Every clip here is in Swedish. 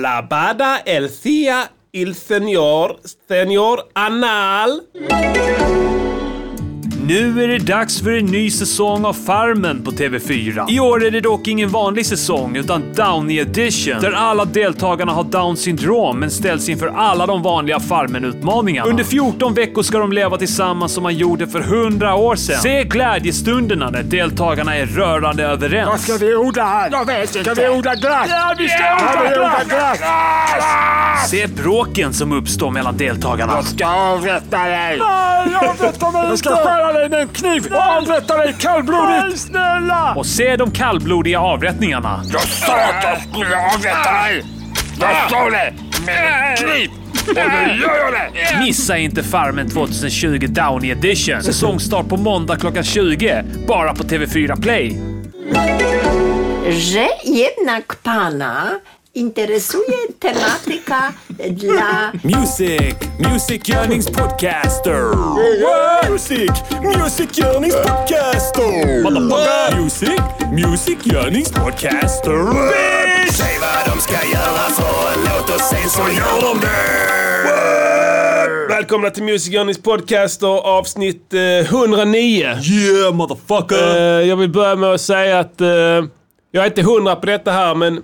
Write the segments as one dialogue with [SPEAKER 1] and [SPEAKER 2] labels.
[SPEAKER 1] Alabada el Cia il Señor, Señor Anal.
[SPEAKER 2] Nu är det dags för en ny säsong av Farmen på TV4. I år är det dock ingen vanlig säsong, utan Downy Edition. Där alla deltagarna har Downs syndrom, men ställs inför alla de vanliga Farmen-utmaningarna. Under 14 veckor ska de leva tillsammans som man gjorde för 100 år sedan. Se glädjestunderna när deltagarna är rörande överens.
[SPEAKER 3] Vad ska vi odla här? Jag vet inte. Ska vi odla glass?
[SPEAKER 2] Ja, vi ska
[SPEAKER 3] Ska vi
[SPEAKER 2] odla
[SPEAKER 3] odla
[SPEAKER 2] glass!
[SPEAKER 3] glass?
[SPEAKER 2] Se bråken som uppstår mellan deltagarna.
[SPEAKER 3] Jag ska avrätta dig!
[SPEAKER 2] Nej, avrätta mig
[SPEAKER 3] Jag ska skära dig med en kniv och avrätta dig kallblodigt!
[SPEAKER 2] Och se de kallblodiga avrättningarna.
[SPEAKER 3] Jag sa att jag skulle avrätta dig! Jag sa det! Med en kniv! Och nu gör jag det!
[SPEAKER 2] Missa inte Farmen 2020 Downy Edition. Säsongstart på måndag klockan 20. Bara på TV4 Play.
[SPEAKER 4] że jednak pana interesuje tematyka dla
[SPEAKER 5] Music, musikgörningspodcaster. Music, musikgörningspodcaster. Motherfucker. Music, musikgörningspodcaster. Säg vad de ska göra för en låt och sen så gör de det.
[SPEAKER 1] Välkomna till Music Journeys podcast och avsnitt eh, 109.
[SPEAKER 5] Yeah motherfucker.
[SPEAKER 1] Eh, jag vill börja med att säga att eh, jag är inte hundra på detta här, men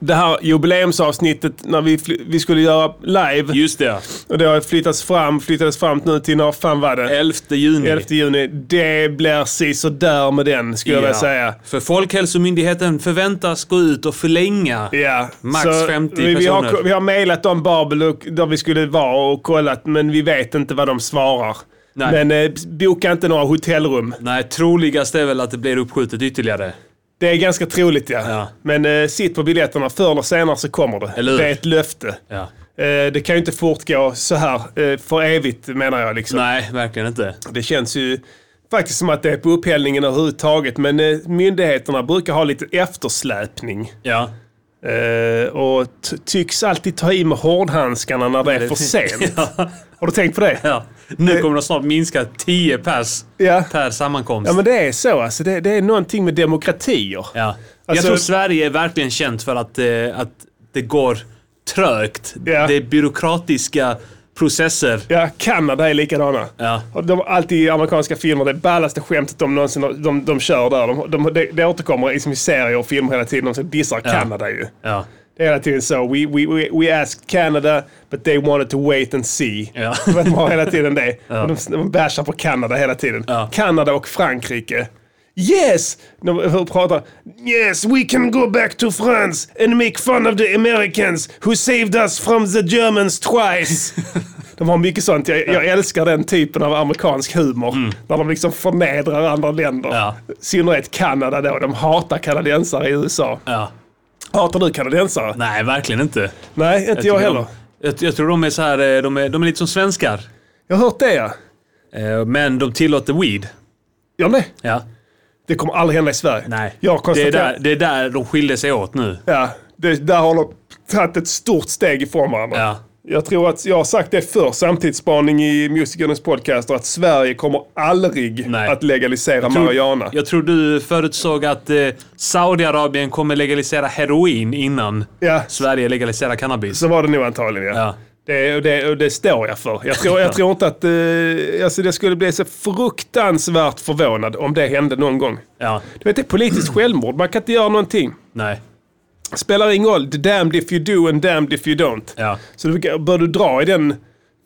[SPEAKER 1] det här jubileumsavsnittet när vi, fly- vi skulle göra live
[SPEAKER 5] Just det,
[SPEAKER 1] och det har flyttats fram, flyttades fram nu till när fan var det?
[SPEAKER 5] 11 juni.
[SPEAKER 1] 11 juni. Det blir si så där med den skulle jag vilja
[SPEAKER 5] Ja.
[SPEAKER 1] säga.
[SPEAKER 5] För Folkhälsomyndigheten förväntas gå ut och förlänga.
[SPEAKER 1] Ja,
[SPEAKER 5] Max
[SPEAKER 1] så
[SPEAKER 5] 50
[SPEAKER 1] vi, vi har,
[SPEAKER 5] personer.
[SPEAKER 1] vi har mejlat om Babel och, där vi skulle vara och kollat, men vi vet inte vad de svarar.
[SPEAKER 5] Nej.
[SPEAKER 1] Men eh, boka inte några hotellrum.
[SPEAKER 5] Nej, troligast är väl att det blir uppskjutet ytterligare.
[SPEAKER 1] Det är ganska troligt ja.
[SPEAKER 5] Ja.
[SPEAKER 1] Men eh, sitt på biljetterna, förr eller senare så kommer det.
[SPEAKER 5] Eller hur?
[SPEAKER 1] Det är ett löfte.
[SPEAKER 5] Ja.
[SPEAKER 1] Eh, det kan ju inte fortgå så här eh, för evigt menar jag. Liksom.
[SPEAKER 5] Nej, verkligen inte.
[SPEAKER 1] Det känns ju faktiskt som att det är på upphällningen överhuvudtaget. Men eh, myndigheterna brukar ha lite eftersläpning.
[SPEAKER 5] Ja.
[SPEAKER 1] Eh, och t- tycks alltid ta i med hårdhandskarna när det är för sent. Har du tänkt på det?
[SPEAKER 5] ja. Nu kommer de snart minska 10 pers
[SPEAKER 1] Eh. Ja.
[SPEAKER 5] per sammankomst.
[SPEAKER 1] Ja men det är så alltså. Det, det är någonting med demokratier.
[SPEAKER 5] Ja.
[SPEAKER 1] Alltså-
[SPEAKER 5] jag tror Sverige är verkligen känt för att, eh, att det går trögt.
[SPEAKER 1] Ja.
[SPEAKER 5] Det är byråkratiska processer.
[SPEAKER 1] Ja, Kanada är likadana.
[SPEAKER 5] Ja.
[SPEAKER 1] Och de har alltid i amerikanska filmer det ballaste skämtet de någonsin har- de, de kör där. De, de, det- det återkommer liksom i serier och filmer hela tiden. De dissar Kanada ju.
[SPEAKER 5] Ja.
[SPEAKER 1] Det är hela tiden så. We, we, we, we asked Canada but they wanted to wait and see.
[SPEAKER 5] Ja.
[SPEAKER 1] De har hela tiden det. Och de, de bashar på Kanada hela tiden.
[SPEAKER 5] Ja.
[SPEAKER 1] Kanada och Frankrike. Yes! De hur pratar Yes, we can go back to France and make fun of the Americans who saved us from the Germans twice. De har mycket sånt. Jag, jag älskar den typen av amerikansk humor. När de liksom förnedrar andra länder.
[SPEAKER 5] Mm. Ja.
[SPEAKER 1] I synnerhet Kanada då. De hatar kanadensare i USA.
[SPEAKER 5] Ja.
[SPEAKER 1] Hatar du kanadensare?
[SPEAKER 5] Nej, verkligen inte. Jag,
[SPEAKER 1] Nej, inte jag,
[SPEAKER 5] tycker
[SPEAKER 1] heller.
[SPEAKER 5] De, jag, jag tror de är så här, eh, de är, de är lite som svenskar.
[SPEAKER 1] Jag har hört det ja.
[SPEAKER 5] Eh, Men de tillåter weed.
[SPEAKER 1] Ja, nej.
[SPEAKER 5] Ja.
[SPEAKER 1] Det kommer aldrig hända i Sverige.
[SPEAKER 5] Nej.
[SPEAKER 1] Jag har
[SPEAKER 5] det, är
[SPEAKER 1] konstaterat.
[SPEAKER 5] där, det är där de skiljer sig åt nu.
[SPEAKER 1] Ja, det, där har de tagit ett stort steg ifrån varandra.
[SPEAKER 5] Ja.
[SPEAKER 1] Jag tror att jag har sagt det för samtidsspaning i musikernas podcaster att Sverige kommer aldrig
[SPEAKER 5] Nej.
[SPEAKER 1] att legalisera marijuana.
[SPEAKER 5] Jag tror du förutsåg att eh, Saudiarabien kommer legalisera heroin innan
[SPEAKER 1] Ja.
[SPEAKER 5] Sverige legaliserar cannabis.
[SPEAKER 1] Så var det nog antagligen ja.
[SPEAKER 5] Ja.
[SPEAKER 1] Det, och det, och det står jag för. Jag tror, jag tror inte att... Eh, alltså det skulle bli så fruktansvärt förvånad om det hände någon gång.
[SPEAKER 5] Ja,
[SPEAKER 1] Du vet, det är politiskt självmord. Man kan inte göra någonting.
[SPEAKER 5] nej.
[SPEAKER 1] spelar ingen roll. The damned if you do and damned if you don't.
[SPEAKER 5] Ja.
[SPEAKER 1] Så du bör du dra i den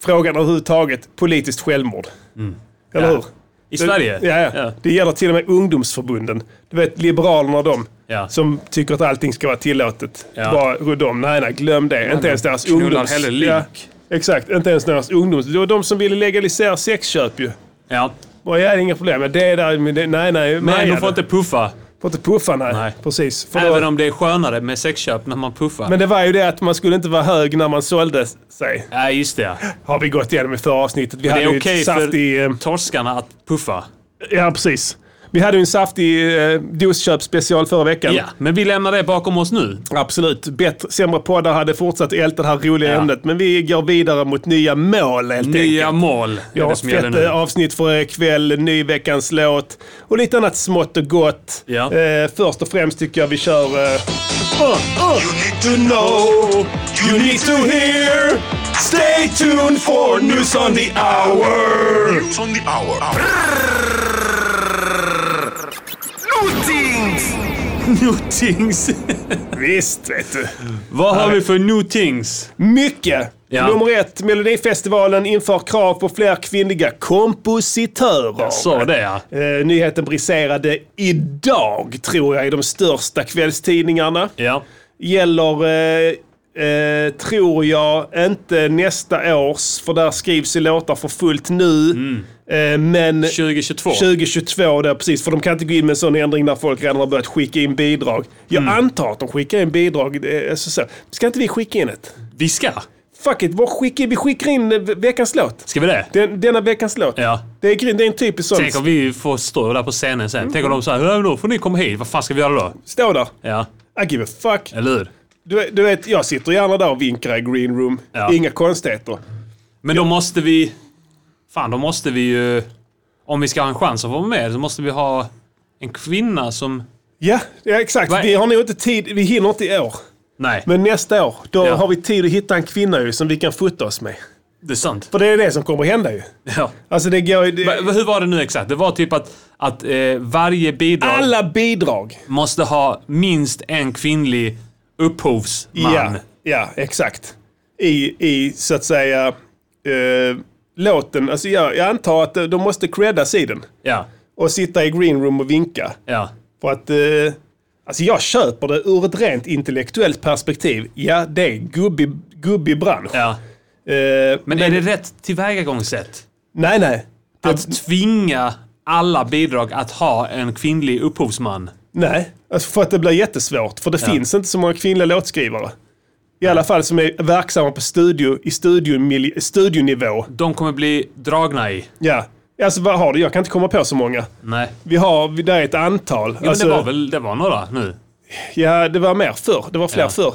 [SPEAKER 1] frågan överhuvudtaget, politiskt självmord. Eller
[SPEAKER 5] Mm. Ja.
[SPEAKER 1] hur?
[SPEAKER 5] I Sverige?
[SPEAKER 1] Ja, ja.
[SPEAKER 5] Ja.
[SPEAKER 1] det gäller till och med ungdomsförbunden. Du vet, Liberalerna och dem.
[SPEAKER 5] Ja.
[SPEAKER 1] Som tycker att allting ska vara tillåtet.
[SPEAKER 5] Ja.
[SPEAKER 1] Bara runt om. Nej, nej, glöm det. inte ens deras
[SPEAKER 5] knullar
[SPEAKER 1] ungdoms...
[SPEAKER 5] hellre link.
[SPEAKER 1] exakt, inte ens deras ungdoms... Det var de som ville legalisera sexköp ju.
[SPEAKER 5] Ja.
[SPEAKER 1] Bara, ja, det är inga problem. Men det är där... Men det, nej, nej.
[SPEAKER 5] Men
[SPEAKER 1] Maja,
[SPEAKER 5] de får inte puffa.
[SPEAKER 1] får inte puffa, nej.
[SPEAKER 5] Nej.
[SPEAKER 1] Precis. För då-
[SPEAKER 5] Även om det är skönare med sexköp när man puffar.
[SPEAKER 1] Men det var ju det att man skulle inte vara hög när man sålde sig.
[SPEAKER 5] Ja, just det.
[SPEAKER 1] Har vi gått igenom i förra avsnittet. Vi
[SPEAKER 5] Det
[SPEAKER 1] hade
[SPEAKER 5] är
[SPEAKER 1] ju
[SPEAKER 5] okej
[SPEAKER 1] ett saftig... eh,
[SPEAKER 5] för torskarna att puffa.
[SPEAKER 1] Ja, precis. Vi hade ju en saftig eh, dosköpsspecial förra veckan.
[SPEAKER 5] Ja, men vi lämnar det bakom oss nu.
[SPEAKER 1] Absolut. Bättre, sämre poddar hade fortsatt älta det här roliga
[SPEAKER 5] Ja.
[SPEAKER 1] ämnet. Men vi går vidare mot nya mål helt
[SPEAKER 5] Nya
[SPEAKER 1] enkelt.
[SPEAKER 5] mål är
[SPEAKER 1] Ja,
[SPEAKER 5] det som gäller
[SPEAKER 1] fett eh,
[SPEAKER 5] nu.
[SPEAKER 1] avsnitt för er ikväll, ny veckans låt och lite annat smått och gott.
[SPEAKER 5] Ja.
[SPEAKER 1] Eh, först och främst tycker jag vi kör... Eh, You need to know. You need to hear. Stay tuned for news on the hour.
[SPEAKER 6] News on the hour.
[SPEAKER 5] Notings!
[SPEAKER 1] Visst, vet du.
[SPEAKER 5] Vad har vi för notings?
[SPEAKER 1] Mycket.
[SPEAKER 5] Ja.
[SPEAKER 1] Nummer ett, Melodifestivalen inför krav på fler kvinnliga kompositörer.
[SPEAKER 5] Så det ja.
[SPEAKER 1] Eh, nyheten briserade idag, tror jag, i de största kvällstidningarna.
[SPEAKER 5] Ja.
[SPEAKER 1] Gäller, eh, eh, tror jag, inte nästa års, för där skrivs ju låtar för fullt nu.
[SPEAKER 5] Mm.
[SPEAKER 1] Eh, men
[SPEAKER 5] 2022.
[SPEAKER 1] 2022, där, precis. För de kan inte gå in med en sån ändring när folk redan har börjat skicka in bidrag. Jag
[SPEAKER 5] Mm.
[SPEAKER 1] antar att de skickar in bidrag. eh, Alltså så. Ska inte vi skicka in ett?
[SPEAKER 5] Vi ska.
[SPEAKER 1] Fuck it, bara skicka, vi skickar in eh, veckans låt.
[SPEAKER 5] Ska vi det?
[SPEAKER 1] Den, denna veckans låt.
[SPEAKER 5] Ja.
[SPEAKER 1] Det är grymt, det är en typisk sån.
[SPEAKER 5] Tänk om vi får stå där på scenen sen. Tänk om de säger "Ja, då får ni komma hit. Vad fan ska vi göra då?
[SPEAKER 1] Stå där.
[SPEAKER 5] Ja,
[SPEAKER 1] I give a fuck.
[SPEAKER 5] eller hur?
[SPEAKER 1] Du, du vet, jag sitter gärna där och vinkar i green room.
[SPEAKER 5] Ja.
[SPEAKER 1] Inga konstigheter.
[SPEAKER 5] Men då måste vi... Fan, då måste vi ju... Om vi ska ha en chans att få vara med så måste vi ha en kvinna som...
[SPEAKER 1] Ja, ja exakt.
[SPEAKER 5] Vad-
[SPEAKER 1] Vi har nog inte tid, vi hinner inte i år.
[SPEAKER 5] Nej,
[SPEAKER 1] Men nästa år, då
[SPEAKER 5] Ja.
[SPEAKER 1] har vi tid att hitta en kvinna ju, som vi kan fota oss med.
[SPEAKER 5] det är sant.
[SPEAKER 1] För det är det som kommer att hända ju.
[SPEAKER 5] Ja.
[SPEAKER 1] Alltså det går ju... Det,
[SPEAKER 5] Va- Hur var det nu exakt? Det var typ att, att eh, varje bidrag
[SPEAKER 1] alla bidrag.
[SPEAKER 5] måste ha minst en kvinnlig upphovsman.
[SPEAKER 1] Ja, ja, exakt. I, I, så att säga, eh, låten. Alltså jag, jag antar att de måste creddas i den.
[SPEAKER 5] Ja.
[SPEAKER 1] Och sitta i green room och vinka.
[SPEAKER 5] ja.
[SPEAKER 1] För att... Eh, alltså jag köper det ur ett rent intellektuellt perspektiv. Ja, det är gubbig, gubbig bransch.
[SPEAKER 5] ja.
[SPEAKER 1] Eh,
[SPEAKER 5] Men, är det rätt tillvägagångssätt?
[SPEAKER 1] Nej, nej. Det,
[SPEAKER 5] Att tvinga alla bidrag att ha en kvinnlig upphovsman?
[SPEAKER 1] Nej, alltså för att det blir jättesvårt. För det finns inte så många kvinnliga låtskrivare. I alla fall som är verksamma på studio, i studiomil- studionivå.
[SPEAKER 5] De kommer bli dragna i?
[SPEAKER 1] Ja. Alltså vad har du? Jag kan inte komma på så många.
[SPEAKER 5] Nej.
[SPEAKER 1] Vi har, vi- det är ett antal.
[SPEAKER 5] Ja,
[SPEAKER 1] alltså,
[SPEAKER 5] men det var väl det var några nu?
[SPEAKER 1] ja, det var mer förr. Det var fler
[SPEAKER 5] Ja.
[SPEAKER 1] förr.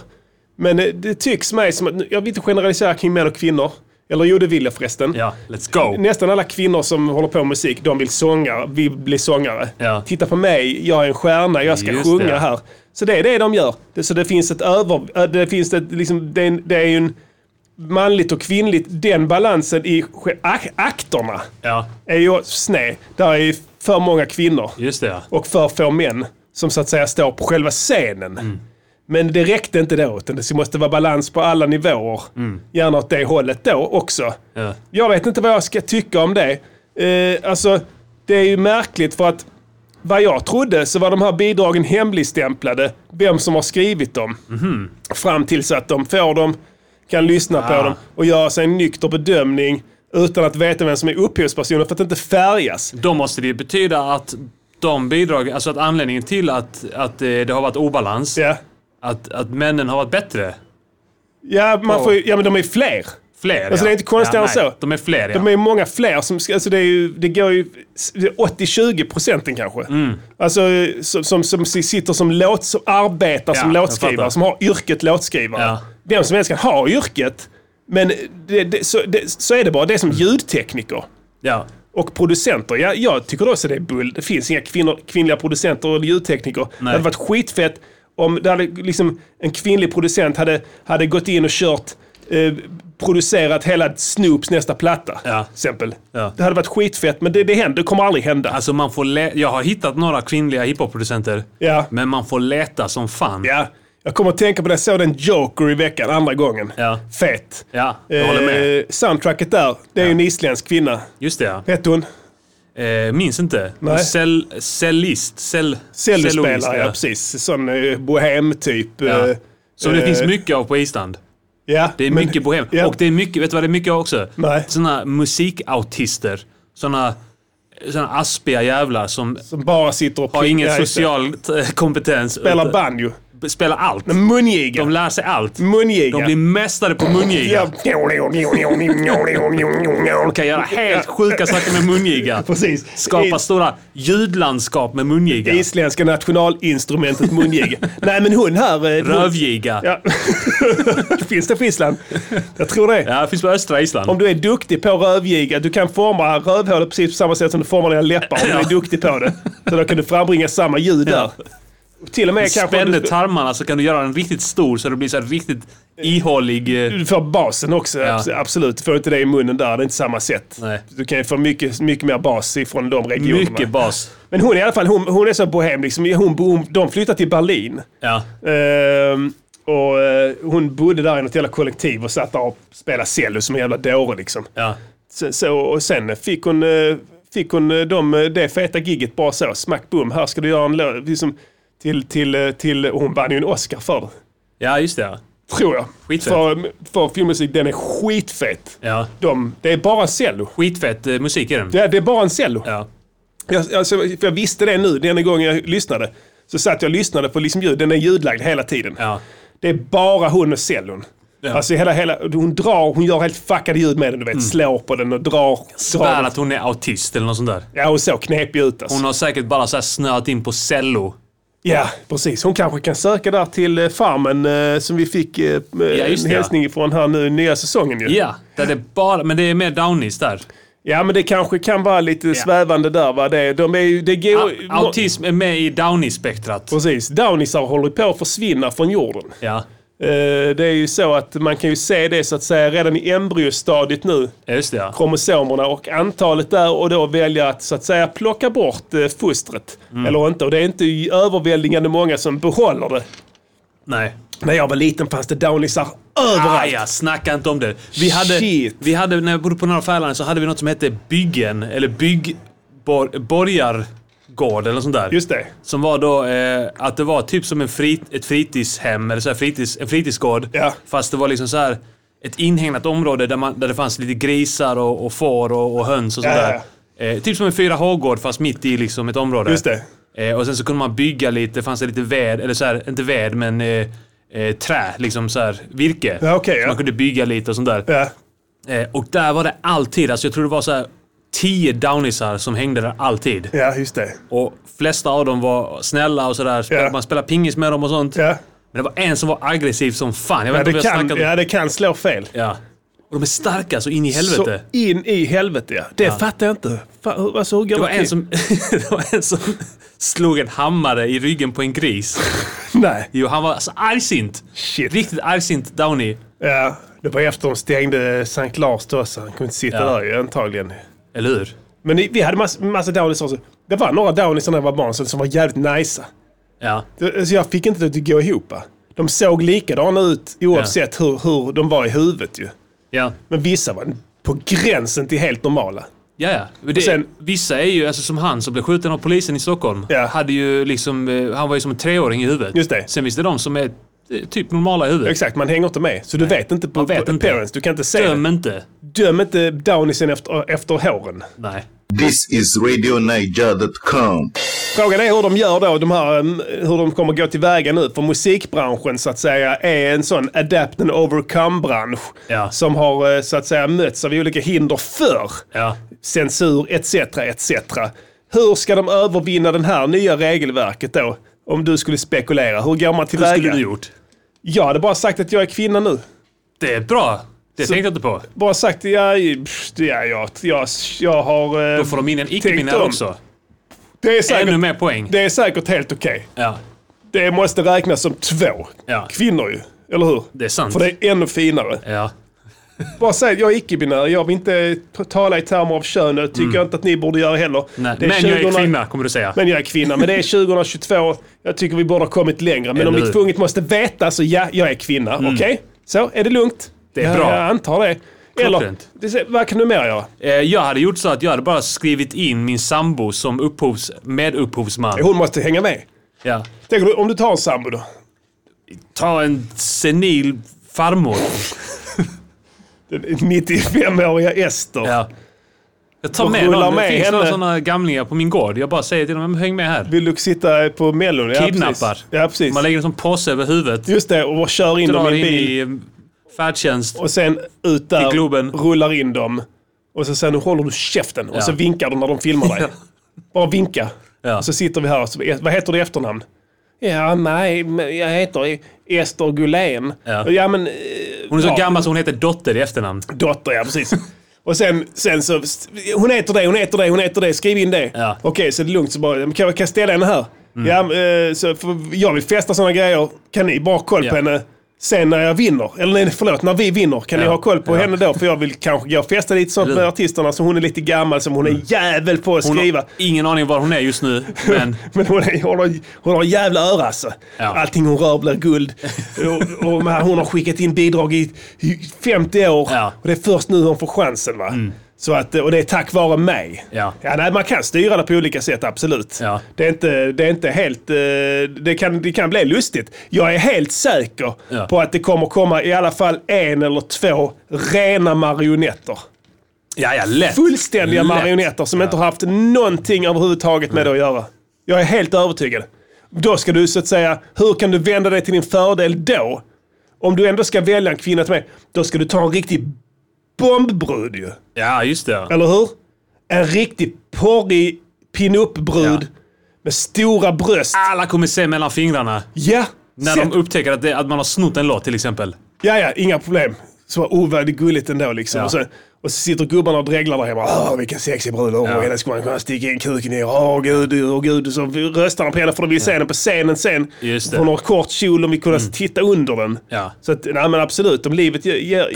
[SPEAKER 1] Men eh, det tycks mig som att, jag vill inte generalisera kring män och kvinnor. Eller jo, det vill jag förresten.
[SPEAKER 5] Ja, let's go!
[SPEAKER 1] Nästan alla kvinnor som håller på med musik, de vill sånga, vill bli sångare.
[SPEAKER 5] Ja.
[SPEAKER 1] Titta på mig, jag är en stjärna, jag ska
[SPEAKER 5] Just
[SPEAKER 1] sjunga
[SPEAKER 5] det.
[SPEAKER 1] här. Så det är det de gör. Det, så det finns ett över... äh, Det, finns ett, liksom, det, är en, det är ju en manligt och kvinnligt. Den balansen i sj- ak- akterna
[SPEAKER 5] Ja,
[SPEAKER 1] är ju sned. Där är ju för många kvinnor
[SPEAKER 5] just det ja.
[SPEAKER 1] och för få män som så att säga står på själva scenen.
[SPEAKER 5] Mm.
[SPEAKER 1] Men det räckte inte då, utan det måste vara balans på alla nivåer. Gärna åt det hållet då också.
[SPEAKER 5] Mm. Ja.
[SPEAKER 1] Jag vet inte vad jag ska tycka om det. Eh, alltså, det är ju märkligt för att vad jag trodde så var de här bidragen hemligstämplade, vem som har skrivit dem. Fram tills att de får dem, kan lyssna på
[SPEAKER 5] Mhm. Ah.
[SPEAKER 1] dem och göra sig en nykter bedömning utan att veta vem som är upphovspersonen för att inte färgas.
[SPEAKER 5] Då måste det ju betyda att de bidrag, alltså att anledningen till att, att eh, det har varit obalans,
[SPEAKER 1] Ja,
[SPEAKER 5] att, att männen har varit bättre.
[SPEAKER 1] ja, man
[SPEAKER 5] Ja.
[SPEAKER 1] får, ju- ja men de är ju fler.
[SPEAKER 5] Fler
[SPEAKER 1] Alltså,
[SPEAKER 5] ja.
[SPEAKER 1] det är inte konstigare
[SPEAKER 5] ja,
[SPEAKER 1] än
[SPEAKER 5] nej,
[SPEAKER 1] så.
[SPEAKER 5] De är fler ja.
[SPEAKER 1] De är många fler som ska, alltså det, är ju, det går ju det är 80-20 procenten kanske.
[SPEAKER 5] Mm.
[SPEAKER 1] Alltså som, som, som sitter som låt, som arbetar som
[SPEAKER 5] jag
[SPEAKER 1] låtskrivare,
[SPEAKER 5] fattar.
[SPEAKER 1] som har yrket låtskrivare.
[SPEAKER 5] Ja.
[SPEAKER 1] Vem som helst kan ha yrket, men det, det, så, det, så är det bara. Det är som ljudtekniker
[SPEAKER 5] ja.
[SPEAKER 1] och producenter. Jag, jag tycker också det är bull. Det finns inga kvinnor, kvinnliga producenter och ljudtekniker. Det hade varit skitfett om det hade, liksom, en kvinnlig producent hade, hade gått in och kört eh, producerat hela Snoops nästa platta.
[SPEAKER 5] Ja.
[SPEAKER 1] till Exempel.
[SPEAKER 5] Ja.
[SPEAKER 1] Det hade varit skitfett, men det, det, händer, det kommer aldrig hända.
[SPEAKER 5] Alltså man får le- Jag har hittat några kvinnliga hiphopproducenter.
[SPEAKER 1] Ja.
[SPEAKER 5] Men man får leta som fan.
[SPEAKER 1] Ja. Jag kommer att tänka på det, jag såg den Joker i veckan, andra gången.
[SPEAKER 5] Ja.
[SPEAKER 1] Fett.
[SPEAKER 5] Ja, jag håller med.
[SPEAKER 1] Eh, soundtracket där, det är ju en isländsk kvinna.
[SPEAKER 5] Just det ja.
[SPEAKER 1] Hette hon?
[SPEAKER 5] Eh, minns inte.
[SPEAKER 1] Nej.
[SPEAKER 5] Cell, cellist. Cell, cellist,
[SPEAKER 1] Cellospelare, ja. precis. Sån eh, bohem-typ.
[SPEAKER 5] Ja.
[SPEAKER 1] eh,
[SPEAKER 5] Som det
[SPEAKER 1] eh,
[SPEAKER 5] finns mycket av på Island.
[SPEAKER 1] Ja,
[SPEAKER 5] Det är
[SPEAKER 1] men-
[SPEAKER 5] mycket bohem.
[SPEAKER 1] Ja,
[SPEAKER 5] Och det är mycket, vet du vad det är mycket av också?
[SPEAKER 1] Nej.
[SPEAKER 5] Såna musikautister. Såna, såna aspiga jävlar som
[SPEAKER 1] som bara sitter och...
[SPEAKER 5] har
[SPEAKER 1] pling-
[SPEAKER 5] ingen
[SPEAKER 1] ja, just det.
[SPEAKER 5] social eh, kompetens.
[SPEAKER 1] Spelar
[SPEAKER 5] Utan-
[SPEAKER 1] banjo.
[SPEAKER 5] Spelar allt.
[SPEAKER 1] Mungiga.
[SPEAKER 5] De lär sig allt.
[SPEAKER 1] Mungiga.
[SPEAKER 5] De blir mästare på mungiga.
[SPEAKER 1] Mm. Ja,
[SPEAKER 5] De kan göra helt sjuka saker med mungiga.
[SPEAKER 1] precis.
[SPEAKER 5] Skapa stora ljudlandskap med mungiga.
[SPEAKER 1] I, isländska nationalinstrumentet mungiga. Nej, men hon här... eh,
[SPEAKER 5] Rövgiga. Ja.
[SPEAKER 1] Ja. Finns det på Island? Jag tror det.
[SPEAKER 5] det finns på östra Island.
[SPEAKER 1] Om du är duktig på rövgiga, du kan forma rövhålet precis på samma sätt som du formar dina läppar om du
[SPEAKER 5] Ja.
[SPEAKER 1] är duktig på det. Så då kan du frambringa samma ljud där. Till och med kanske... om
[SPEAKER 5] Spänner
[SPEAKER 1] du-
[SPEAKER 5] tarmarna så kan du göra den riktigt stor så det blir så här riktigt ihålig. eh,
[SPEAKER 1] Du får basen också, abs- absolut. Får inte det i munnen där, det är inte samma sätt.
[SPEAKER 5] Nej.
[SPEAKER 1] Du kan ju få mycket, mycket mer bas ifrån de regionerna.
[SPEAKER 5] Mycket bas.
[SPEAKER 1] Men hon i alla fall, hon, hon är så bohem. Liksom, hon, bo- de flyttade till Berlin.
[SPEAKER 5] Ja.
[SPEAKER 1] Ehm, och eh, Hon bodde där i något jävla kollektiv och satt där och spelade cello som en jävla dåre. Liksom.
[SPEAKER 5] Ja.
[SPEAKER 1] Så, så, och sen fick hon, eh, fick hon eh, de, eh, det feta gigget bara så. Smack boom, här ska du göra en låt. Liksom, till, till, eh, till, och hon vann ju en Oscar för det,
[SPEAKER 5] ja, just det. ja.
[SPEAKER 1] Tror jag.
[SPEAKER 5] Skitfett.
[SPEAKER 1] För, för filmmusik, den är skitfett.
[SPEAKER 5] Ja.
[SPEAKER 1] De, det är bara cello.
[SPEAKER 5] Skitfett eh, musik är den.
[SPEAKER 1] Det, det är bara en cello.
[SPEAKER 5] Ja.
[SPEAKER 1] Jag, alltså, för jag visste det nu, denna gången jag lyssnade. Så satt jag och lyssnade på liksom ljud, den är ljudlagd hela tiden.
[SPEAKER 5] Ja.
[SPEAKER 1] Det är bara hon och cellon. Alltså hela, hela, hon drar, hon gör helt fuckade ljud med den, du vet. Slår på den och drar. drar
[SPEAKER 5] Mm. Svär
[SPEAKER 1] den.
[SPEAKER 5] att hon är autist eller något sånt där.
[SPEAKER 1] Ja, hon såg knepig ut alltså.
[SPEAKER 5] Hon har säkert bara så här snöat in på cello.
[SPEAKER 1] Ja, precis. Hon kanske kan söka där till eh, Farmen eh, som vi fick eh,
[SPEAKER 5] just
[SPEAKER 1] en
[SPEAKER 5] det, ja.
[SPEAKER 1] hälsning ifrån här nu, nya säsongen ju.
[SPEAKER 5] Ja, där det bara, men det är mer downies där.
[SPEAKER 1] Ja, men det kanske kan vara lite svävande där va. Det, de är ju, det
[SPEAKER 5] A-
[SPEAKER 1] går...
[SPEAKER 5] Autism är med i downie-spektrat.
[SPEAKER 1] Precis. Downisar håller på att försvinna från jorden.
[SPEAKER 5] Ja,
[SPEAKER 1] Eh, Det är ju så att man kan ju se det så att säga redan i embryostadiet nu.
[SPEAKER 5] just det ja.
[SPEAKER 1] Kromosomerna och antalet där och då välja att så att säga plocka bort eh, fostret.
[SPEAKER 5] Mm.
[SPEAKER 1] Eller inte. Och det är inte i överväldigande många som behåller det.
[SPEAKER 5] Nej.
[SPEAKER 1] När jag var liten fanns det downisar överallt.
[SPEAKER 5] Ah, ja, snacka inte om det. Vi hade,
[SPEAKER 1] Shit.
[SPEAKER 5] vi hade, när jag bodde på Norra Färland så hade vi något som hette byggen, eller byggborgargård eller sånt där.
[SPEAKER 1] Just det.
[SPEAKER 5] Som var då eh, att det var typ som en frit, ett fritidshem, eller så här fritids, en fritidsgård.
[SPEAKER 1] Ja.
[SPEAKER 5] Fast det var liksom så här ett inhägnat område där, man, där det fanns lite grisar och, och får och, och höns och sånt
[SPEAKER 1] Ja,
[SPEAKER 5] där. Eh, typ som en 4H-gård fast mitt i liksom ett område.
[SPEAKER 1] Just det.
[SPEAKER 5] Eh, och sen så kunde man bygga lite, fanns det lite ved, eller så här, inte ved men eh, eh, trä, liksom så här virke.
[SPEAKER 1] Ja, okej,
[SPEAKER 5] så
[SPEAKER 1] ja.
[SPEAKER 5] man kunde bygga lite och sånt där.
[SPEAKER 1] Ja.
[SPEAKER 5] Eh, och där var det alltid, alltså jag tror det var så här 10 downisar som hängde där alltid.
[SPEAKER 1] ja, just det.
[SPEAKER 5] Och flesta av dem var snälla och sådär. Spel-
[SPEAKER 1] Ja.
[SPEAKER 5] Man spelade pingis med dem och sånt.
[SPEAKER 1] Ja.
[SPEAKER 5] Men det var en som var aggressiv som fan. Jag
[SPEAKER 1] Ja,
[SPEAKER 5] vet
[SPEAKER 1] det,
[SPEAKER 5] inte om vi har
[SPEAKER 1] kan,
[SPEAKER 5] snackat om
[SPEAKER 1] ja, det kan slå fel.
[SPEAKER 5] Ja. Och de är starka så in i helvete.
[SPEAKER 1] Så in i helvete ja. Det fattar jag inte. Fan, hur, alltså, hur går
[SPEAKER 5] Det var,
[SPEAKER 1] till?
[SPEAKER 5] en som, det var en som slog en hammare i ryggen på en gris.
[SPEAKER 1] Nej.
[SPEAKER 5] Jo, han var alltså argsint.
[SPEAKER 1] Shit.
[SPEAKER 5] Riktigt argsint Downey.
[SPEAKER 1] Ja, det var efter de stängde Sankt Lars då, så han kunde inte sitta
[SPEAKER 5] Ja.
[SPEAKER 1] där ju antagligen.
[SPEAKER 5] Eller hur?
[SPEAKER 1] Men vi hade mass, massa downisar också. Det var några downisar när jag var barn som, som var jävligt najsa.
[SPEAKER 5] Ja.
[SPEAKER 1] Det- Så jag fick inte det att gå ihop. va. De såg likadana ut oavsett hur, hur de var i huvudet ju.
[SPEAKER 5] Ja.
[SPEAKER 1] Men vissa var på gränsen till helt normala.
[SPEAKER 5] Ja, ja. Men Det,
[SPEAKER 1] sen-
[SPEAKER 5] vissa är ju, alltså som han som blev skjuten av polisen i Stockholm.
[SPEAKER 1] Ja.
[SPEAKER 5] Hade ju liksom, eh, han var ju som en treåring i huvudet.
[SPEAKER 1] Just det.
[SPEAKER 5] Sen finns det de som är eh, typ normala i huvudet.
[SPEAKER 1] Exakt, man hänger inte med. Så du vet inte på,
[SPEAKER 5] Man vet
[SPEAKER 1] på
[SPEAKER 5] inte.
[SPEAKER 1] appearance. Du kan inte se
[SPEAKER 5] Döm
[SPEAKER 1] det.
[SPEAKER 5] inte.
[SPEAKER 1] Döm inte downisen efter, efter håren.
[SPEAKER 5] Nej.
[SPEAKER 6] This is RadioNiger.com.
[SPEAKER 1] Frågan är hur de gör då, de här, mm, hur de kommer gå tillväga nu. För musikbranschen så att säga är en sån adapt and overcome-bransch.
[SPEAKER 5] Ja.
[SPEAKER 1] Som har eh, så att säga mötts av olika hinder förr.
[SPEAKER 5] Ja.
[SPEAKER 1] Censur etc. etc. Hur ska de övervinna det här nya regelverket då? Om du skulle spekulera, hur går man
[SPEAKER 5] Hur
[SPEAKER 1] tillväga?
[SPEAKER 5] skulle du gjort?
[SPEAKER 1] Jag hade bara sagt att jag är kvinna nu.
[SPEAKER 5] Det är bra. Det tänkte jag inte på.
[SPEAKER 1] Bara sagt, ja, pff, ja, jag, jag, jag har... eh,
[SPEAKER 5] Då får de in en
[SPEAKER 1] tänkt
[SPEAKER 5] icke-binär
[SPEAKER 1] om.
[SPEAKER 5] också.
[SPEAKER 1] Det är säkert,
[SPEAKER 5] Ännu mer poäng.
[SPEAKER 1] det är säkert helt okej.
[SPEAKER 5] Ja.
[SPEAKER 1] Det måste räknas som två.
[SPEAKER 5] Ja.
[SPEAKER 1] Kvinnor ju, eller hur?
[SPEAKER 5] Det är sant.
[SPEAKER 1] För det är ännu finare.
[SPEAKER 5] Ja.
[SPEAKER 1] Bara säg, jag är icke-binär, jag vill inte t- tala i termer av kön, det tycker jag inte att ni borde göra heller.
[SPEAKER 5] Mm. Nej.
[SPEAKER 1] Det
[SPEAKER 5] Men jag är
[SPEAKER 1] 2000
[SPEAKER 5] kvinna, kommer du säga.
[SPEAKER 1] Men jag är kvinna, men det är 2022. Jag tycker vi borde ha kommit längre. Men om
[SPEAKER 5] Eller
[SPEAKER 1] vi
[SPEAKER 5] hur? Mm.
[SPEAKER 1] tvunget måste veta så ja, jag är kvinna. Okej? Så, är det lugnt? Det
[SPEAKER 5] är bra.
[SPEAKER 1] Jag antar det. Eller,
[SPEAKER 5] Klockrent.
[SPEAKER 1] det, vad kan du mer göra?
[SPEAKER 5] Eh, Jag hade gjort så att jag hade bara skrivit in min sambo som upphovs, medupphovsman.
[SPEAKER 1] Hon måste hänga med.
[SPEAKER 5] Ja.
[SPEAKER 1] Tänker du, om du tar en sambo då?
[SPEAKER 5] Ta en senil farmor.
[SPEAKER 1] Den 95-åriga Ester.
[SPEAKER 5] Ja. Jag tar
[SPEAKER 1] Och
[SPEAKER 5] med
[SPEAKER 1] rullar
[SPEAKER 5] någon.
[SPEAKER 1] med
[SPEAKER 5] Det finns
[SPEAKER 1] henne.
[SPEAKER 5] några sådana gamlingar på min gård. Jag bara säger till dem, häng med här.
[SPEAKER 1] Vill du sitta på mellon? Ja,
[SPEAKER 5] Kidnappar.
[SPEAKER 1] precis. Ja, precis.
[SPEAKER 5] Man lägger en sån påse över huvudet.
[SPEAKER 1] Just det, och kör in
[SPEAKER 5] Drar
[SPEAKER 1] dem i
[SPEAKER 5] in
[SPEAKER 1] en bil.
[SPEAKER 5] i eh, färdtjänst.
[SPEAKER 1] Och sen ut där,
[SPEAKER 5] I Globen.
[SPEAKER 1] rullar in dem. Och så sen håller du käften och
[SPEAKER 5] Ja.
[SPEAKER 1] så vinkar du när de filmar dig. Bara vinka.
[SPEAKER 5] Ja.
[SPEAKER 1] Och så sitter vi här och så, eh, vad heter du i efternamn? Ja, nej, men jag heter Ester Gullén.
[SPEAKER 5] Ja.
[SPEAKER 1] ja men, eh,
[SPEAKER 5] Hon är så
[SPEAKER 1] ja,
[SPEAKER 5] gammal så hon heter Dotter i efternamn.
[SPEAKER 1] Dotter, ja precis. och sen, sen så, hon heter det, hon heter det, hon heter det, skriv in det.
[SPEAKER 5] Ja. Mm.
[SPEAKER 1] Okej, så är det lugnt. Så bara, men kan jag kan jag ställa henne här? Ja, eh, så för jag vill festa sådana grejer. Kan ni bara ha koll på
[SPEAKER 5] Ja.
[SPEAKER 1] henne sen när jag vinner? Eller nej, förlåt, när vi vinner. Kan ni
[SPEAKER 5] Ja.
[SPEAKER 1] ha koll på henne då? För jag vill kanske gå och festa lite sånt med artisterna som hon är lite gammal, som hon är jävel på att
[SPEAKER 5] Mm. Hon
[SPEAKER 1] skriva.
[SPEAKER 5] har ingen aning var hon är just nu, men...
[SPEAKER 1] Men hon, är, hon, har, hon har jävla öra alltså.
[SPEAKER 5] Ja.
[SPEAKER 1] Allting hon rör blir guld. och, och men hon har skickat in bidrag i i 50 år.
[SPEAKER 5] Ja. Mm.
[SPEAKER 1] Och det är först nu hon får chansen. Va? Så att, och det är tack vare mig.
[SPEAKER 5] Ja.
[SPEAKER 1] nej, man kan styra det på olika sätt, absolut.
[SPEAKER 5] Ja.
[SPEAKER 1] Det, är inte, det är inte helt... eh, Det kan, det kan bli lustigt. Jag är helt säker
[SPEAKER 5] Ja.
[SPEAKER 1] på att det kommer komma i alla fall en eller två rena marionetter.
[SPEAKER 5] Ja, ja, lätt.
[SPEAKER 1] Fullständiga
[SPEAKER 5] Lätt.
[SPEAKER 1] marionetter som inte har haft någonting överhuvudtaget med det att göra. Jag är helt övertygad. Då ska du så att säga, hur kan du vända dig till din fördel då? Om du ändå ska välja en kvinna till mig, då ska du ta en riktig bombbrud ju.
[SPEAKER 5] Ja, just det.
[SPEAKER 1] Eller hur? En riktig porrig pinup-brud
[SPEAKER 5] Ja.
[SPEAKER 1] med stora bröst.
[SPEAKER 5] Alla kommer se mellan fingrarna
[SPEAKER 1] Ja!
[SPEAKER 5] när
[SPEAKER 1] Sätt-
[SPEAKER 5] de upptäcker att, det, att man har snott en låt till exempel.
[SPEAKER 1] Ja, ja, inga problem. Så var oh, vad det är gulligt ändå liksom.
[SPEAKER 5] Ja.
[SPEAKER 1] Och, så, och så sitter gubbarna och dreglar där hemma. Åh, vilken sexig brud. Åh, henne skulle man kunna sticka in kuken i. Åh, gud, åh, gud. Så röstar de på henne för de vill se henne på scenen sen.
[SPEAKER 5] Just det. Mm.
[SPEAKER 1] Hon har kort kjol, de vill kunna titta under den.
[SPEAKER 5] Ja.
[SPEAKER 1] Så att, nej men absolut, om livet ger, ger,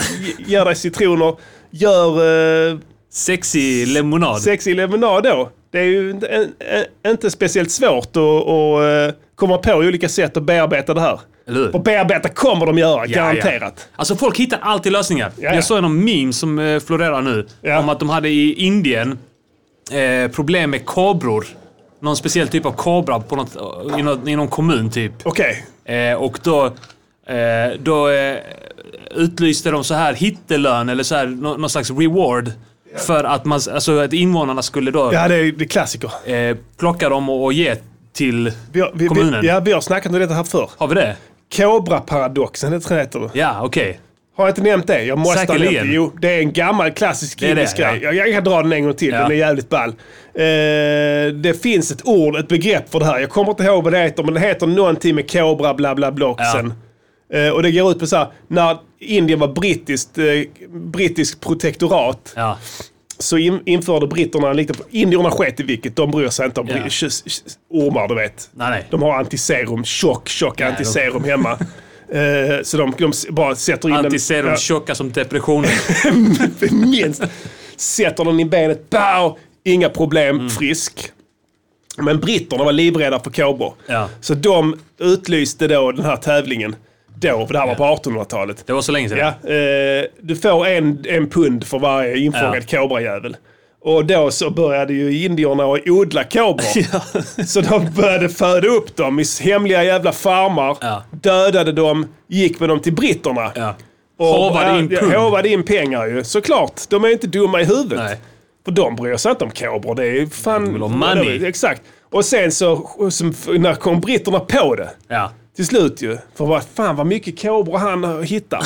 [SPEAKER 1] ger dig citroner, gör eh,
[SPEAKER 5] Sexy lemonad.
[SPEAKER 1] sexig lemonad då. Det är ju inte, en, en, inte speciellt svårt att, att eh, komma på olika sätt att bearbeta det här.
[SPEAKER 5] Eller hur?
[SPEAKER 1] Och bearbeta kommer de göra, garanterat.
[SPEAKER 5] Ja. Alltså folk hittar alltid lösningar.
[SPEAKER 1] Ja, ja.
[SPEAKER 5] Jag såg någon meme som eh, florerar nu.
[SPEAKER 1] Ja.
[SPEAKER 5] Om att de hade i Indien eh, problem med kobror. Någon speciell typ av kobra på något, i, något, i någon kommun typ.
[SPEAKER 1] Okej.
[SPEAKER 5] Eh, och då, eh, då eh, utlyste de så här hittelön eller så här, nå- någon slags reward. För att, man, alltså, att invånarna skulle då
[SPEAKER 1] Ja, det är, det är klassiker.
[SPEAKER 5] eh, plocka dem och, och ge till
[SPEAKER 1] Vi har, vi,
[SPEAKER 5] kommunen.
[SPEAKER 1] vi, ja, vi har snackat om detta här förr.
[SPEAKER 5] Har vi det?
[SPEAKER 1] Kobra-paradoxen, det tror jag heter det.
[SPEAKER 5] Ja, okej.
[SPEAKER 1] Har jag inte nämnt det? Jag måste ha nämnt
[SPEAKER 5] Säkerligen.
[SPEAKER 1] det. Jo, det är en gammal klassisk
[SPEAKER 5] är det,
[SPEAKER 1] indisk
[SPEAKER 5] ja.
[SPEAKER 1] grej. Jag, jag kan dra den en gång till,
[SPEAKER 5] Ja.
[SPEAKER 1] den är jävligt ball. Eh, det finns ett ord, ett begrepp för det här. Jag kommer inte ihåg vad det heter, men det heter någonting med kobra bla bla blocksen. Eh, och det går ut på så här, när Indien var brittiskt, eh, brittiskt protektorat
[SPEAKER 5] Ja.
[SPEAKER 1] så in, införde britterna en liten... Indierna sket i vilket, de bryr sig inte om
[SPEAKER 5] Ja.
[SPEAKER 1] bri- tjus- tjus- ormar, du vet.
[SPEAKER 5] Nej, nej.
[SPEAKER 1] De har antiserum, tjock, tjock antiserum hemma. Eh, så de, de s- bara sätter in
[SPEAKER 5] Antiserum
[SPEAKER 1] den...
[SPEAKER 5] tjocka som depressionen.
[SPEAKER 1] Ja, minst. Sätter den i benet, pow! Inga problem,
[SPEAKER 5] Mm.
[SPEAKER 1] frisk. Men britterna var livrädda för kobror.
[SPEAKER 5] Ja.
[SPEAKER 1] Så de utlyste då den här tävlingen. Då, för det här var på 1800-talet.
[SPEAKER 5] Det var så länge sedan.
[SPEAKER 1] Ja, eh, du får en, en pund för varje infångad kobrajävel. Och då så började ju indierna att odla kobror. Så de började föda upp dem i hemliga jävla farmar.
[SPEAKER 5] Ja.
[SPEAKER 1] Dödade dem, gick med dem till britterna.
[SPEAKER 5] Ja.
[SPEAKER 1] Och
[SPEAKER 5] Håvade in
[SPEAKER 1] ja,
[SPEAKER 5] pund.
[SPEAKER 1] Håvade in pengar ju. Såklart, de är inte dumma i huvudet.
[SPEAKER 5] Nej.
[SPEAKER 1] För de bryr sig inte om kobror. Det är ju fan...
[SPEAKER 5] vill ha money.
[SPEAKER 1] Exakt. Och sen så, som, när kom britterna på det.
[SPEAKER 5] Ja.
[SPEAKER 1] Till slut ju. För vad fan vad mycket kobror han hittar.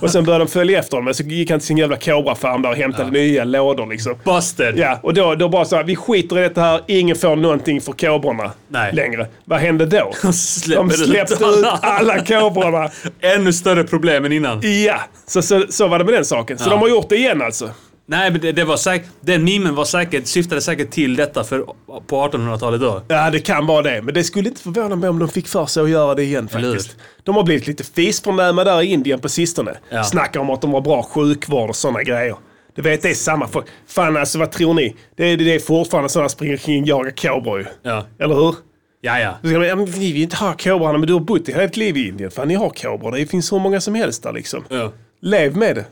[SPEAKER 1] Och sen började de följa efter honom. Men så gick han till sin jävla kobrafarm där och hämtade nya lådor liksom.
[SPEAKER 5] Busted.
[SPEAKER 1] Ja, och då, då bara så här, vi skiter i detta här. Ingen får någonting för kobrorna
[SPEAKER 5] Nej.
[SPEAKER 1] längre. Vad hände då?
[SPEAKER 5] Släpper
[SPEAKER 1] de
[SPEAKER 5] ut
[SPEAKER 1] släppte ut
[SPEAKER 5] alla.
[SPEAKER 1] alla kobrorna.
[SPEAKER 5] Ännu större problem än innan.
[SPEAKER 1] Ja, så, så, så var det med den saken. Så de har gjort det igen alltså.
[SPEAKER 5] Nej, men det, det var säkert... Den memen var säkert, syftade säkert till detta för, på 1800-talet då.
[SPEAKER 1] Ja, det kan vara det. Men det skulle inte förvåna mig om de fick för sig att göra det igen
[SPEAKER 5] Eller hur?
[SPEAKER 1] faktiskt. De har blivit lite fisförnäma där i Indien på sistone.
[SPEAKER 5] Ja.
[SPEAKER 1] Snackar om att de har bra sjukvård och sådana grejer. Du vet, det är samma folk. Fan alltså, vad tror ni? Det är, det är fortfarande sådana som springer kring och jagar kobror ju.
[SPEAKER 5] Ja.
[SPEAKER 1] Eller hur?
[SPEAKER 5] Ja, ja.
[SPEAKER 1] Då ska de, ja, men vi vill ju inte ha kobrorna, men du har bott i hela ditt liv i Indien. Fan, ni har kobror. Det finns hur många som helst där liksom.
[SPEAKER 5] Ja.
[SPEAKER 1] Lev med det.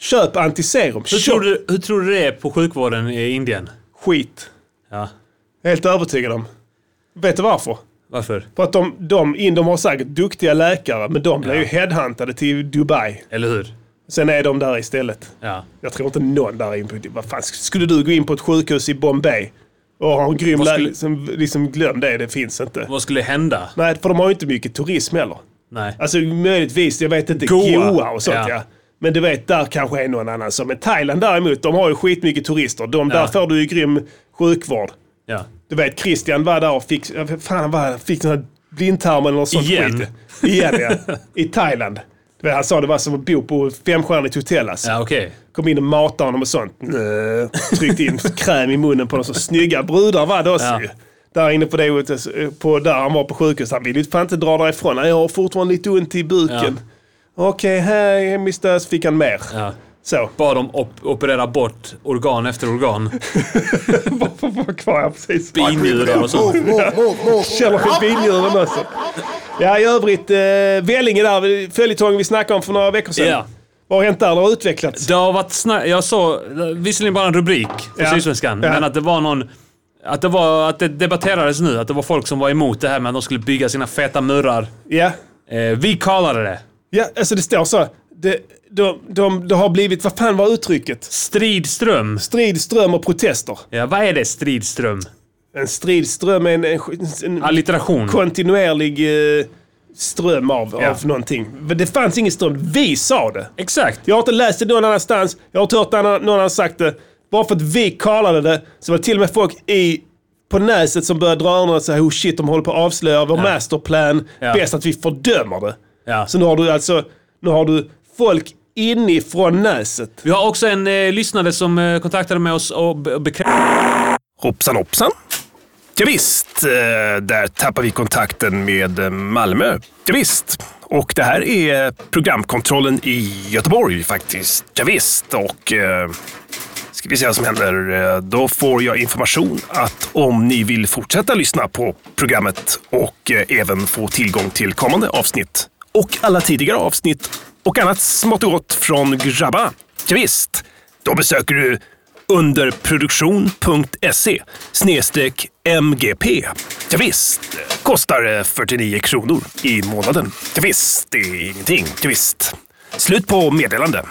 [SPEAKER 1] Köp antiserum.
[SPEAKER 5] Hur,
[SPEAKER 1] Köp
[SPEAKER 5] tror du, hur tror du det är på sjukvården i Indien?
[SPEAKER 1] skit.
[SPEAKER 5] Ja.
[SPEAKER 1] Jag är helt övertygad om. Vet du varför?
[SPEAKER 5] Varför?
[SPEAKER 1] För att de, de, in- de har säkert duktiga läkare, men de blir ju headhuntade till Dubai.
[SPEAKER 5] Eller hur?
[SPEAKER 1] Sen är de där istället.
[SPEAKER 5] Ja.
[SPEAKER 1] Jag tror inte någon där inne på... Vad fan, skulle du gå in på ett sjukhus i Bombay och ha en grym
[SPEAKER 5] Vad
[SPEAKER 1] läkare?
[SPEAKER 5] skulle-
[SPEAKER 1] Liksom, liksom, glöm det, det finns inte.
[SPEAKER 5] Vad skulle hända?
[SPEAKER 1] Nej, för de har ju inte mycket turism heller.
[SPEAKER 5] Nej.
[SPEAKER 1] Alltså möjligtvis, jag vet inte, Goa,
[SPEAKER 5] Goa.
[SPEAKER 1] och sånt ja.
[SPEAKER 5] Ja.
[SPEAKER 1] Men du vet, där kanske är någon annan som... Men Thailand däremot, de har ju skitmycket turister. De, Där
[SPEAKER 5] Ja.
[SPEAKER 1] får du ju grym sjukvård.
[SPEAKER 5] Ja.
[SPEAKER 1] Du vet, Christian var där och fick, ja, för fan han var, han fick den här blindtarmen eller något sånt
[SPEAKER 5] Igen.
[SPEAKER 1] skit. Igen ja. I Thailand. Du vet, han sa det var som att bo på femstjärnigt hotell alltså.
[SPEAKER 5] Ja, okej.
[SPEAKER 1] Kom in och matade honom och sånt. Nö. Tryckte in kräm i munnen på dem. Så snygga brudar var det också
[SPEAKER 5] Ja.
[SPEAKER 1] ju. där inne på det hotellet, eh, på där han var på sjukhus. Han ville ju fan inte dra därifrån. "Nej, Jag har fortfarande lite ont i buken. Okej, här är min stös. Fick han mer.
[SPEAKER 5] Ja.
[SPEAKER 1] Så,
[SPEAKER 5] Bara de op- opererar bort organ efter organ.
[SPEAKER 1] varför var kvar jag precis?
[SPEAKER 5] Binjurar och sånt.
[SPEAKER 1] Känner för binjuren också. Ja, i övrigt, eh, Vellinge där, följetongen vi snackade om för några veckor sedan.
[SPEAKER 5] Ja.
[SPEAKER 1] Vad har hänt där? Det har utvecklats.
[SPEAKER 5] Det har varit sna- Jag såg visserligen bara en rubrik på
[SPEAKER 1] Ja.
[SPEAKER 5] Sydsvenskan,
[SPEAKER 1] Ja.
[SPEAKER 5] men att det var någon... Att det, var, att det debatterades nu, att det var folk som var emot det här med att de skulle bygga sina feta murar.
[SPEAKER 1] Ja.
[SPEAKER 5] Eh, vi kallade det
[SPEAKER 1] ja, alltså det står så. Det, de, de, det har blivit, vad fan var uttrycket?
[SPEAKER 5] stridström.
[SPEAKER 1] Strid, ström och protester.
[SPEAKER 5] Ja, vad är det stridström?
[SPEAKER 1] En stridström är en, en, en
[SPEAKER 5] Allitteration.
[SPEAKER 1] kontinuerlig eh, ström av,
[SPEAKER 5] Ja.
[SPEAKER 1] av någonting. Men Det fanns ingen ström. Vi sa det.
[SPEAKER 5] Exakt.
[SPEAKER 1] Jag har inte läst det någon annanstans. Jag har inte hört annan- någon annan sagt det. Bara för att vi kallade det så var det till och med folk i, på näset som började dra öronen och säga oh shit, de håller på att avslöja vår masterplan.
[SPEAKER 5] Ja.
[SPEAKER 1] Bäst att vi fördömer det.
[SPEAKER 5] Ja.
[SPEAKER 1] Så nu har du alltså nu har du folk inifrån näset.
[SPEAKER 5] Vi har också en eh, lyssnare som eh, kontaktade med oss och be- och bekräftade...
[SPEAKER 7] Hoppsan hoppsan. Ja, visst, eh, där tappar vi kontakten med eh, Malmö. Ja, visst. Och det här är programkontrollen i Göteborg faktiskt. Ja, visst. och eh, ska vi se vad som händer. Eh, Då får jag information att om ni vill fortsätta lyssna på programmet och eh, även få tillgång till kommande avsnitt och alla tidigare avsnitt och annat smått och gott från Grabba. Ja, visst. då besöker du underproduktion.se snedstreck MGP. Ja, visst. kostar eh, 49 kronor i månaden. Ja, visst. det är ingenting. Ja, visst. Slut på meddelande.